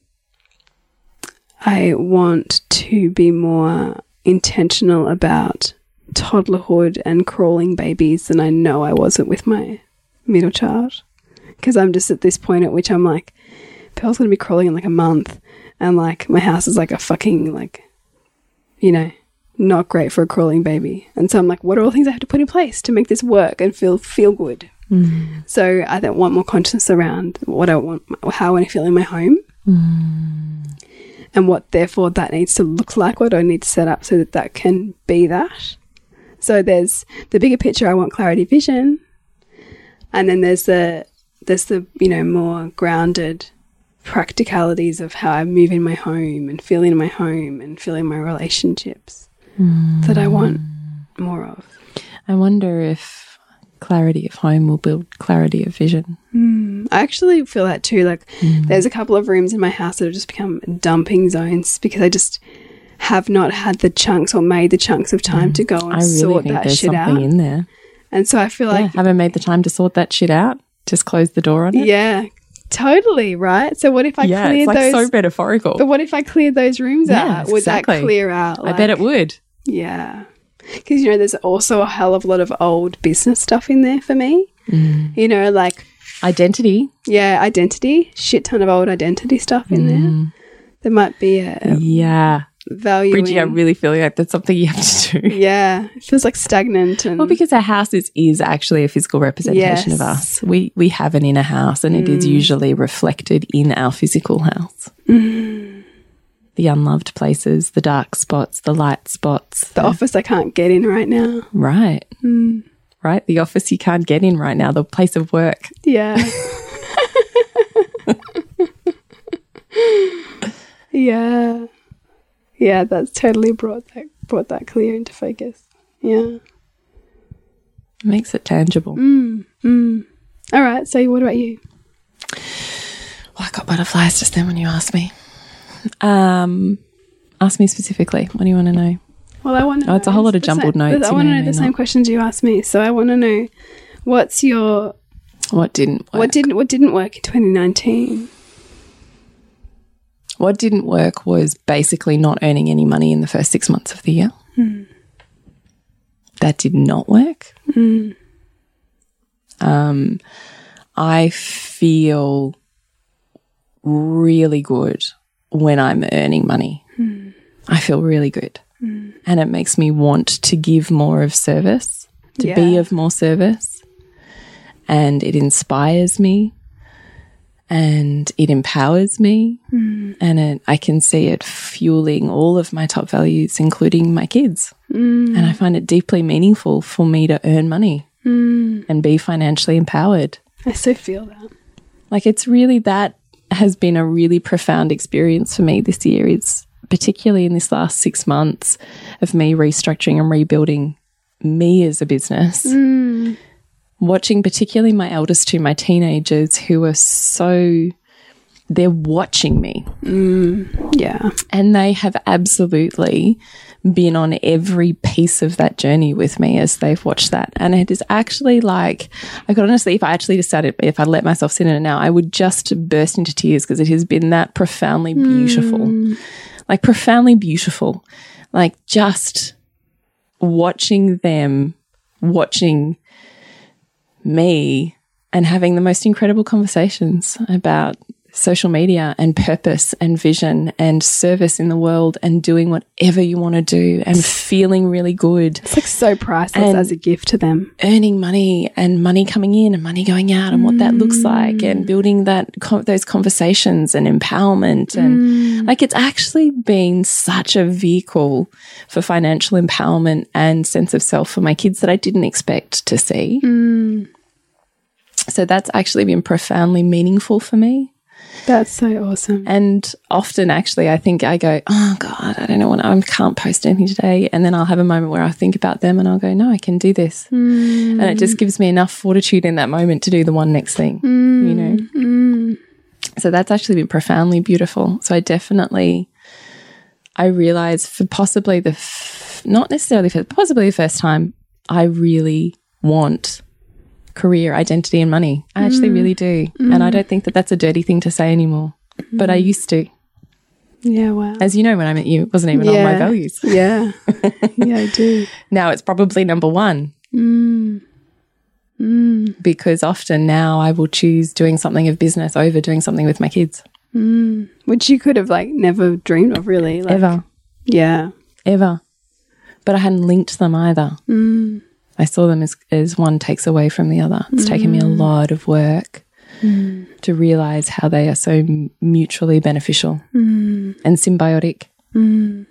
I want to be more intentional about toddlerhood and crawling babies than I know I wasn't with my middle child. Because I'm just at this point at which I'm like, Pearl's going to be crawling in like a month. And like, my house is like a fucking, like, you know, not great for a crawling baby. And so I'm like, what are all the things I have to put in place to make this work and feel feel good? So I don't want more consciousness around what I want, how I feel in my home and what therefore that needs to look like, what I need to set up so that that can be that. So there's the bigger picture. I want clarity, vision, and then there's the there's the you know more grounded practicalities of how I move in my home and feel in my home and feel in my relationships that I want more of.
I wonder if clarity of home will build clarity of vision.
I actually feel that too. Like,
Mm.
there's a couple of rooms in my house that have just become dumping zones because I just have not had the chunks or made the chunks of time to go and
Mm. I really
sort
think
that
there's
shit
something
out.
in there.
and so I feel
Yeah,
like,
haven't made the time to sort that shit out. Just close the door on it.
yeah, totally right. So what if I
yeah, it's
cleared
like
those?
so metaphorical.
but what if I cleared those rooms
Yeah,
out? Would
exactly.
that clear out?
I bet
like-
it would.
Yeah. Because, you know, there's also a hell of a lot of old business stuff in there for me.
Mm.
You know, like,
Identity.
yeah,
Mm.
identity, shit ton of old identity stuff in there. There might be a,
Yeah.
valuing.
Bridgie, I really feel like that's something you have to do.
yeah, it feels like stagnant and
Well, because our house is, is actually a physical representation
Yes. Mm.
of us. We we have an inner house and it is usually reflected in our physical house.
Mm.
The unloved places, the dark spots, the light spots.
the Mm. office I can't get in right now.
Right. Right? The office you can't get in right now, the place of work.
Yeah. yeah. Yeah, that's totally brought that brought that clear into focus. Yeah.
It makes it tangible. Hmm.
All right, so what about you?
Well, I got butterflies just then when you asked me. Um, ask me specifically. What do you want to know?
Well, I want to
Oh, it's a whole lot of jumbled notes,
I
you
want to
may
know
or
the
may
same
not.
questions you asked me. So I want to know what's your
What didn't work?
what didn't what didn't work in 2019?
What didn't work was basically not earning any money in the first six months of the year. That did not work. Um, I feel really good when I'm earning money. I feel really good. And it makes me want to give more of service, to be
Yeah.
of more service. And it inspires me and it empowers me and it, I can see it fueling all of my top values, including my kids. Mm. And I find it deeply meaningful for me to earn money and be financially empowered.
I so feel that.
Like it's really that has been a really profound experience for me this year. It's particularly in this last six months of me restructuring and rebuilding me as a business. Watching particularly my eldest two, my teenagers, who are so they're watching me
Yeah.
and they have absolutely been on every piece of that journey with me as they've watched that. And it is actually like, I could honestly, if I actually decided, if I let myself sit in it now, I would just burst into tears because it has been that profoundly beautiful. Like, profoundly beautiful. Like, just watching them, watching me, and having the most incredible conversations about social media and purpose and vision and service in the world and doing whatever you want to do and feeling really good,
It's like so priceless
And-
as a gift to them.
earning money and money coming in and money going out and what that looks like and building that con those conversations and empowerment and like it's actually been such a vehicle for financial empowerment and sense of self for my kids that I didn't expect to see. So that's actually been profoundly meaningful for me.
That's so awesome.
And often, actually, I think I go, "Oh God, I don't know when I can't post anything today." And then I'll have a moment where I think about them, and I'll go, "No, I can do this." And it just gives me enough fortitude in that moment to do the one next thing, you know. So that's actually been profoundly beautiful. So I definitely, I realize for possibly the, f- not necessarily for possibly the first time, I really want career, identity, and money. I actually really do, and I don't think that that's a dirty thing to say anymore but I used to.
Yeah, wow.
As you know, when I met you, it wasn't even on my
Yeah.
values.
Yeah. yeah, I do.
Now it's probably number one. Because often now I will choose doing something of business over doing something with my kids.
Which you could have like never dreamed of really. Like,
Ever,
Yeah.
ever. But I hadn't linked them either. I saw them as, as one takes away from the other. It's taken me a lot of work to realize how they are so m- mutually beneficial and symbiotic. And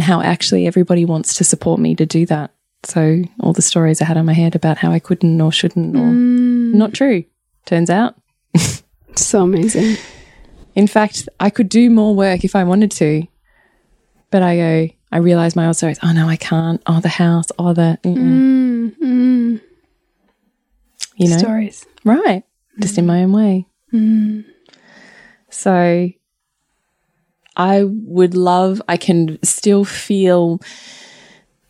how actually everybody wants to support me to do that. So, all the stories I had in my head about how I couldn't or shouldn't, or not true, turns out.
So amazing.
In fact, I could do more work if I wanted to, but I go, I realize my old stories. Oh no, I can't. Oh, the house. Oh, the, mm-mm. you know,
Stories.
right? Just in my own way. So I would love, I can still feel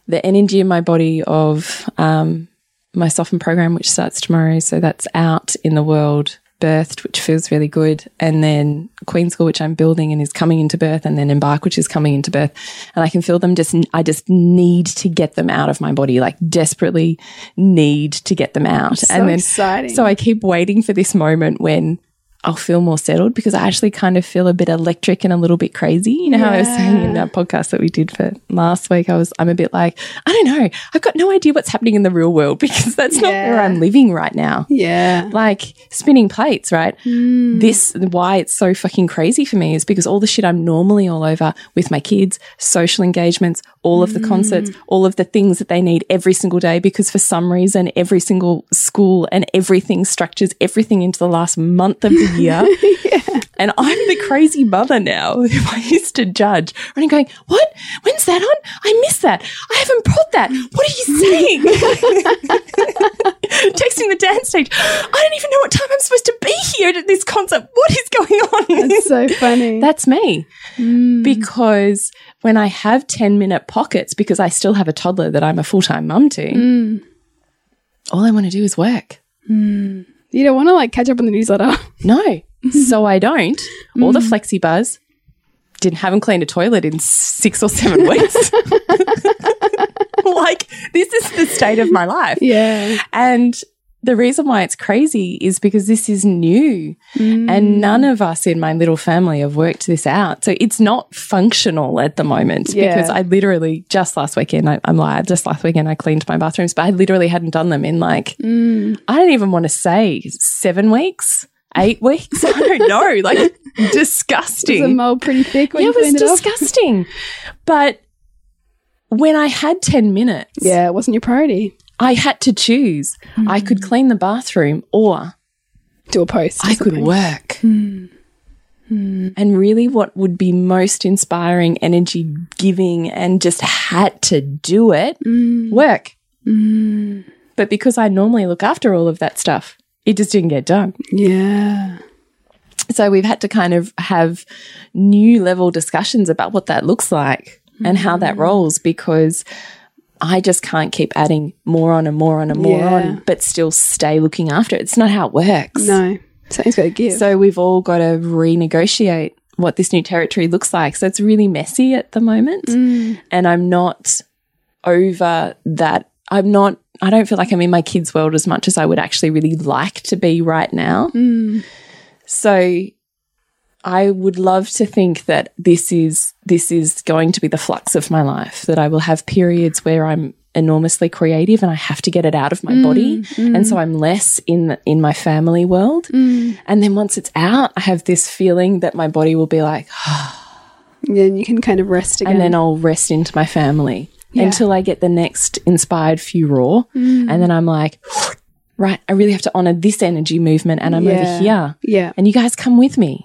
the energy in my body of um, my soften program, which starts tomorrow. So that's out in the world, birthed, which feels really good. And then Queen School, which I'm building and is coming into birth, and then Embark, which is coming into birth. And I can feel them just, I just need to get them out of my body, like desperately need to get them out.
So exciting.
So I keep waiting for this moment when I'll feel more settled because I actually kind of feel a bit electric and a little bit crazy. You know how I was saying in that podcast that we did for last week? I was, I'm a bit like, I don't know. I've got no idea what's happening in the real world because that's not where
Yeah.
I'm living right now.
Yeah.
Like spinning plates, right? This, why it's so fucking crazy for me is because all the shit I'm normally all over with my kids, social engagements, all of the concerts, all of the things that they need every single day because for some reason, every single school and everything structures everything into the last month of the year. And I'm the crazy mother now who I used to judge. And I'm going, what? When's that on? I missed that. I haven't brought that. What are you saying? Texting the dance stage. I don't even know what time I'm supposed to be here at this concert. What is going on?
It's so funny.
That's me. Because when I have 10 minute pockets, because I still have a toddler that I'm a full time mum to, all I want to do is work.
you don't want to like catch up on the newsletter.
No. so I don't. All the flexi buzz. Didn't haven't cleaned a toilet in six or seven weeks. like this is the state of my life.
yeah.
And the reason why it's crazy is because this is new
Mm.
and none of us in my little family have worked this out. So it's not functional at the moment
Yeah.
because I literally just last weekend, I, I'm like, just last weekend I cleaned my bathrooms, but I literally hadn't done them in like,
Mm.
I don't even want to say seven weeks, eight weeks. I don't know. Like disgusting
It's a mole pretty thick when
yeah,
you
it was
cleaned it off.
disgusting. but when I had 10 minutes,
Yeah, it wasn't your priority.
I had to choose. I could clean the bathroom or
Do a post. or
Hmm. I could
something.
work. Hmm. And really, what would be most inspiring, energy giving, and just had to do it work. But because I normally look after all of that stuff, it just didn't get done.
Yeah.
So we've had to kind of have new level discussions about what that looks like and how
Mm.
that rolls because I just can't keep adding more on and more on and more
Yeah.
on, but still stay looking after it. It's not how it works.
No. Something's got to give.
So we've all got to renegotiate what this new territory looks like. So it's really messy at the moment.
Mm.
And I'm not over that. I'm not, I don't feel like I'm in my kids' world as much as I would actually really like to be right now.
Mm.
So I would love to think that this is this is going to be the flux of my life that I will have periods where I'm enormously creative and I have to get it out of my body and so I'm less in the, in my family world and then once it's out I have this feeling that my body will be like "Ah,"
and then you can kind of rest again.
and then I'll rest into my family until I get the next inspired few raw and then I'm like right I really have to honor this energy movement and I'm
Yeah.
over here
yeah.
and you guys come with me.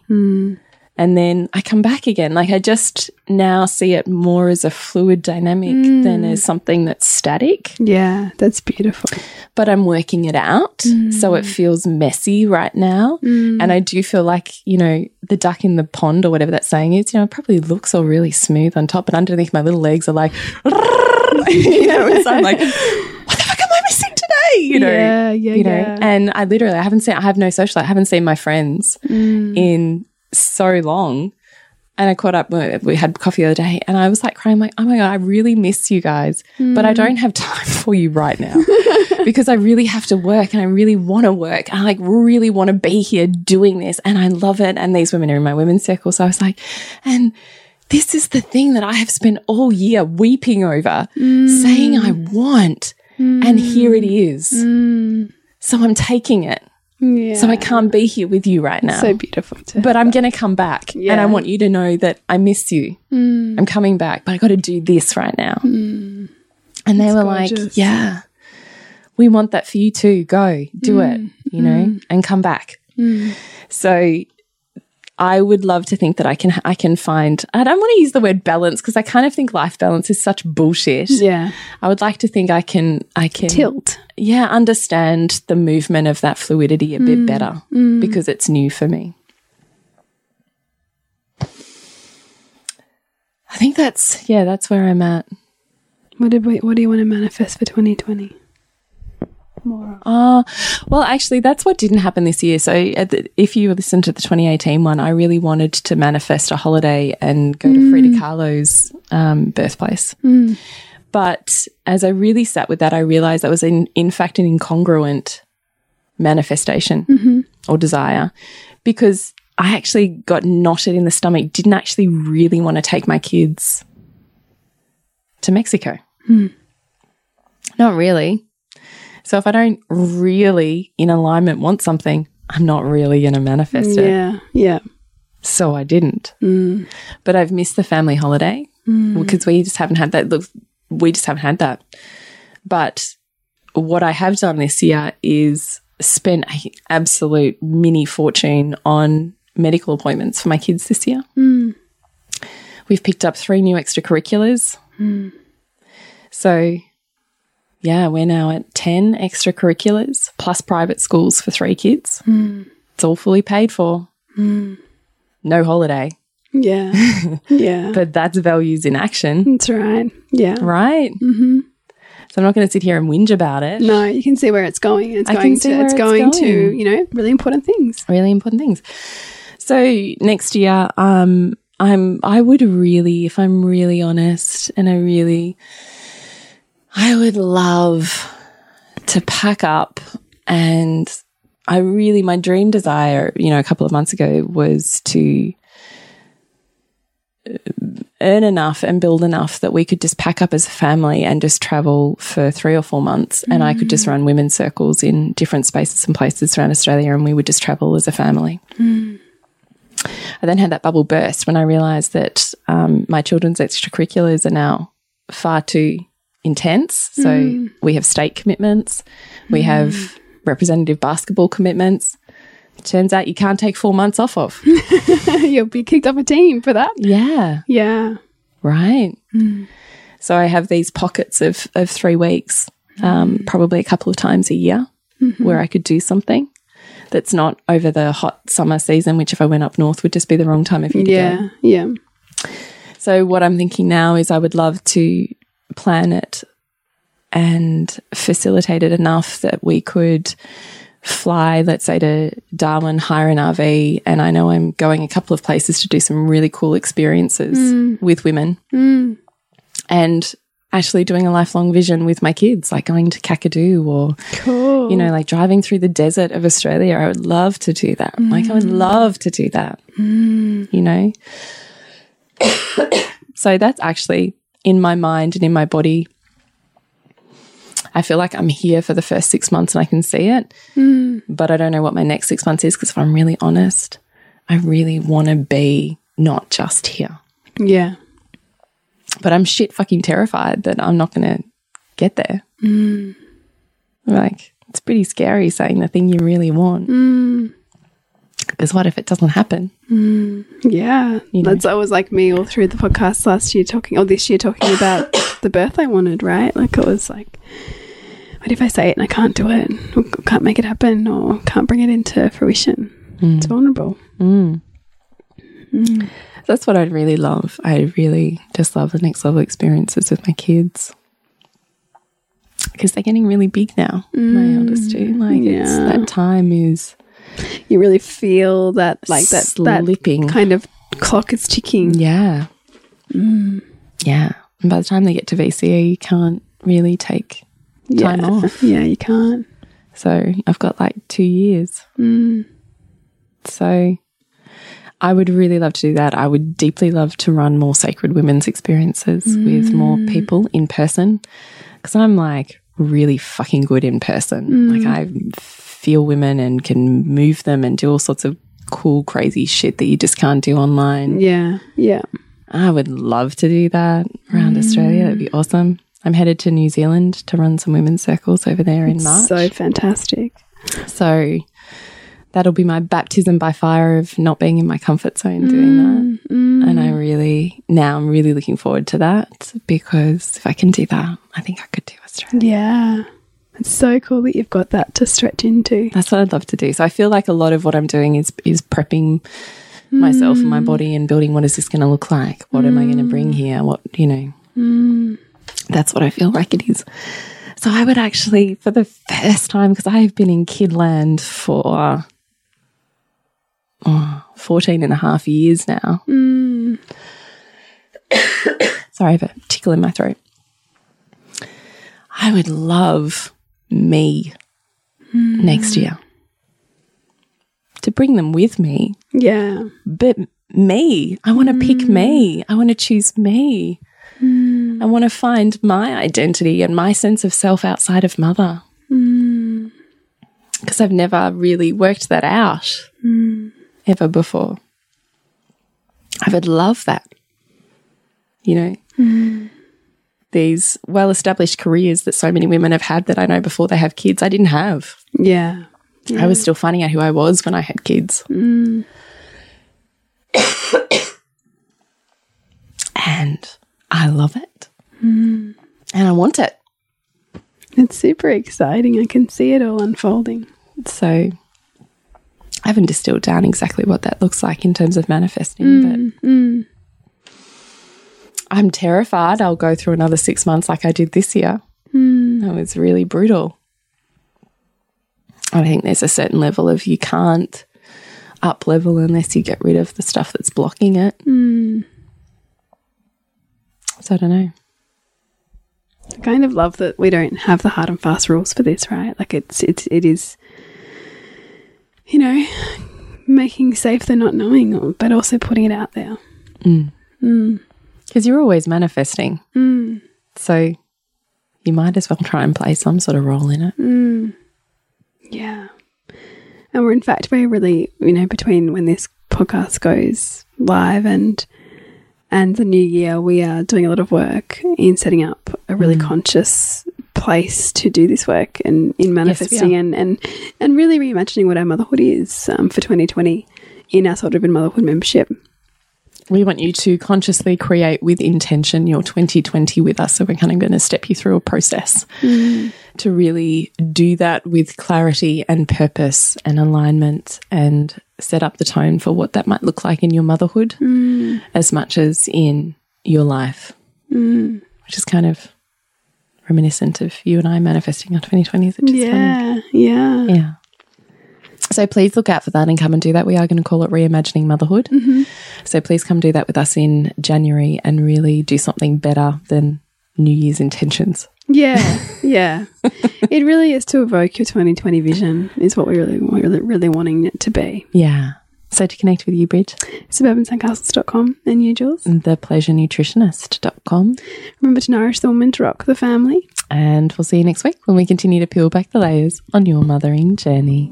And then I come back again. Like I just now see it more as a fluid dynamic than as something that's static,
Yeah. That's beautiful.
but I'm working it out.
Mm.
So it feels messy right now. And I do feel like, you know, the duck in the pond or whatever that saying is, you know, it probably looks all really smooth on top, but underneath my little legs are like, you know, and so I'm like, what the fuck am I missing today? You know,
Yeah, yeah,
you know,
yeah.
and I literally, I haven't seen, I have no social, I haven't seen my friends
Mm.
in so long. And I caught up, we we had coffee the other day, and I was like crying, like, oh my God, I really miss you guys, but I don't have time for you right now because I really have to work and I really want to work. I like really want to be here doing this and I love it. And these women are in my women's circle. So I was like, and this is the thing that I have spent all year weeping over, saying I want. And here it is. So I'm taking it.
Yeah.
So I can't be here with you right now.
so beautiful. To
but I'm going to come back and I
Yeah. Mm.
want you to know that I miss you. I'm coming back, but I got to do this right now. And they were like,
gorgeous.
yeah, we want that for you too. Go do
Mm.
it, you know, and come back. So I would love to think that I can I can find I don't want to use the word balance because I kind of think life balance is such bullshit.
yeah.
I would like to think I can I can
Tilt.
yeah, understand the movement of that fluidity a bit better because it's new for me. I think that's yeah, that's where I'm at.
What did we? What do you want to manifest for 2020? More. Of.
Ah, well, actually, that's what didn't happen this year. So, at the, if you listen to the 2018 one, I really wanted to manifest a holiday and go to Frida Kahlo's um, birthplace. But as I really sat with that, I realized that was, in, in fact, an incongruent manifestation or desire because I actually got knotted in the stomach, didn't actually really want to take my kids to Mexico. Not really. So if I don't really in alignment want something, I'm not really going to manifest it.
Yeah. Yeah.
So I didn't. But I've missed the family holiday because we just haven't had that. Look, we just haven't had that. But what I have done this year is spent an absolute mini fortune on medical appointments for my kids this year. We've picked up three new extracurriculars. So, yeah, we're now at 10 extracurriculars plus private schools for three kids. It's all fully paid for. No holiday,
Yeah. Yeah.
but that's values in action,
That's right. Yeah.
right? Mm-hmm. So I'm not going to sit here and whinge about it.
No, you can see where it's going. It's
I
going
can see
to
where
it's
it's
going, to,
going.
you know, really important things.
really important things. So next year, um, I'm I would really, if I'm really honest, and I really, I would love to pack up, and I really my dream desire, you know, a couple of months ago was to uh, earn enough and build enough that we could just pack up as a family and just travel for three or four months and i could just run women's circles in different spaces and places around australia and we would just travel as a family i then had that bubble burst when i realised that um, my children's extracurriculars are now far too intense so we have state commitments we have representative basketball commitments turns out you can't take four months off of
You'll be kicked off a team for that.
yeah
Yeah.
Right. So I have these pockets of, of three weeks, um, probably a couple of times a year, where I could do something that's not over the hot summer season, which if I went up north would just be the wrong time of year to go.
Yeah. Yeah.
So what I'm thinking now is I would love to plan it and facilitate it enough that we could fly, let's say to Darwin, hire an RV. And I know I'm going a couple of places to do some really cool experiences with women and actually doing a lifelong vision with my kids, like going to Kakadu or,
Cool.
you know, like driving through the desert of Australia. I would love to do that. Like, I would love to do that, you know? so that's actually in my mind and in my body. I feel like I'm here for the first six months and I can see it, but I don't know what my next six months is because if I'm really honest, I really want to be not just here
Yeah.
but I'm shit fucking terrified that I'm not going to get there. Like, it's pretty scary saying the thing you really want. Because what if it doesn't happen?
Yeah. That's always like me all through the podcast last year talking or this year talking about the birth I wanted, right? Like it was like what if I say it and I can't do it? Or can't make it happen or can't bring it into fruition.
Hmm.
It's vulnerable.
That's what I'd really love. I really just love the next level experiences with my kids. Because they're getting really big now, my eldest two. Like, it's,
Mm. Yeah.
that time is
You really feel that like that that
slipping.
kind of clock is
Mm,
ticking.
Yeah.
Mm.
Yeah. And by the time they get to VCE, you can't really take time
yeah.
off.
Yeah, you can't.
So I've got like two years. So I would really love to do that. I would deeply love to run more sacred women's experiences with more people in person because I'm like really fucking good in person. Like I feel women and can move them and do all sorts of cool, crazy shit that you just can't do online.
Yeah. Yeah.
I would love to do that around Australia. That'd be awesome. I'm headed to New Zealand to run some women's circles over there in March.
So fantastic.
So that'll be my baptism by fire of not being in my comfort zone doing
Mm-hmm.
that. And I really, now I'm really looking forward to that because if I can do that, I think I could do Australia.
Yeah. It's so cool that you've got that to stretch into.
That's what I'd love to do. So I feel like a lot of what I'm doing is is prepping myself and my body and building what is this going to look like? What am I going to bring here? What, you know. That's what I feel like it is. So I would actually for the first time because I have been in kidland for oh, 14 and a half years now. Sorry, I have a tickle in my throat. I would love me next year to bring them with me.
Yeah.
But me, I want to pick me. I want to choose me. I want to find my identity and my sense of self outside of mother. Because I've never really worked that out ever before. I would love that. You know, these well established careers that so many women have had that I know before they have kids, I didn't have.
Yeah.
I was still finding out who I was when I had kids. and I love it. And I want it.
It's super exciting. I can see it all unfolding.
So I haven't distilled down exactly what that looks like in terms of manifesting, but I'm terrified I'll go through another six months like I did this year. That was really brutal. I think there's a certain level of you can't up level unless you get rid of the stuff that's blocking it. So I don't know.
I kind of love that we don't have the hard and fast rules for this, right? Like it's it's it is you know, making safe the not knowing or- but also putting it out there.
Because you're always manifesting. So you might as well try and play some sort of role in it.
Yeah. And we're in fact we're really, you know, between when this podcast goes live and and the new year, we are doing a lot of work in setting up a really conscious place to do this work and in manifesting
are.
and, and and really reimagining what our motherhood is um, for 2020 in our sort of in motherhood membership.
We want you to consciously create with intention your 2020 with us. So we're kind of going to step you through a process to really do that with clarity and purpose and alignment and set up the tone for what that might look like in your motherhood as much as in your life, which is kind of reminiscent of you and I manifesting our 2020s. Which is fun.
Yeah, yeah,
Yeah. So please look out for that and come and do that. We are going to call it Reimagining Motherhood. So please come do that with us in January and really do something better than New Year's intentions.
yeah, yeah. it really is to evoke your 2020 vision is what we really, we're really, really wanting it to be.
Yeah. So to connect with you, Bridge,
Suburbansandcastles.com and you, Jules.
thepleasurenutritionist.com.
Remember to nourish the woman to rock the family.
And we'll see you next week when we continue to peel back the layers on your mothering journey.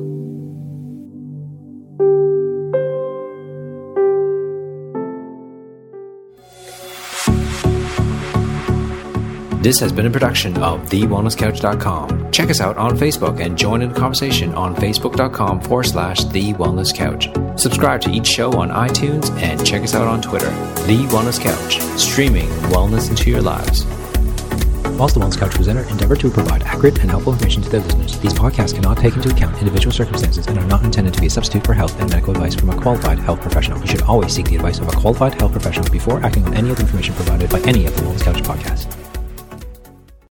This has been a production of TheWellnessCouch.com. Check us out on Facebook and join in the conversation on Facebook.com forward slash The Wellness Couch. Subscribe to each show on iTunes and check us out on Twitter. The Wellness Couch, streaming wellness into your lives. Whilst the Wellness Couch presenter endeavor to provide accurate and helpful information to their listeners, these podcasts cannot take into account individual circumstances and are not intended to be a substitute for health and medical advice from a qualified health professional. You should always seek the advice of a qualified health professional before acting on any of the information provided by any of the Wellness Couch podcasts.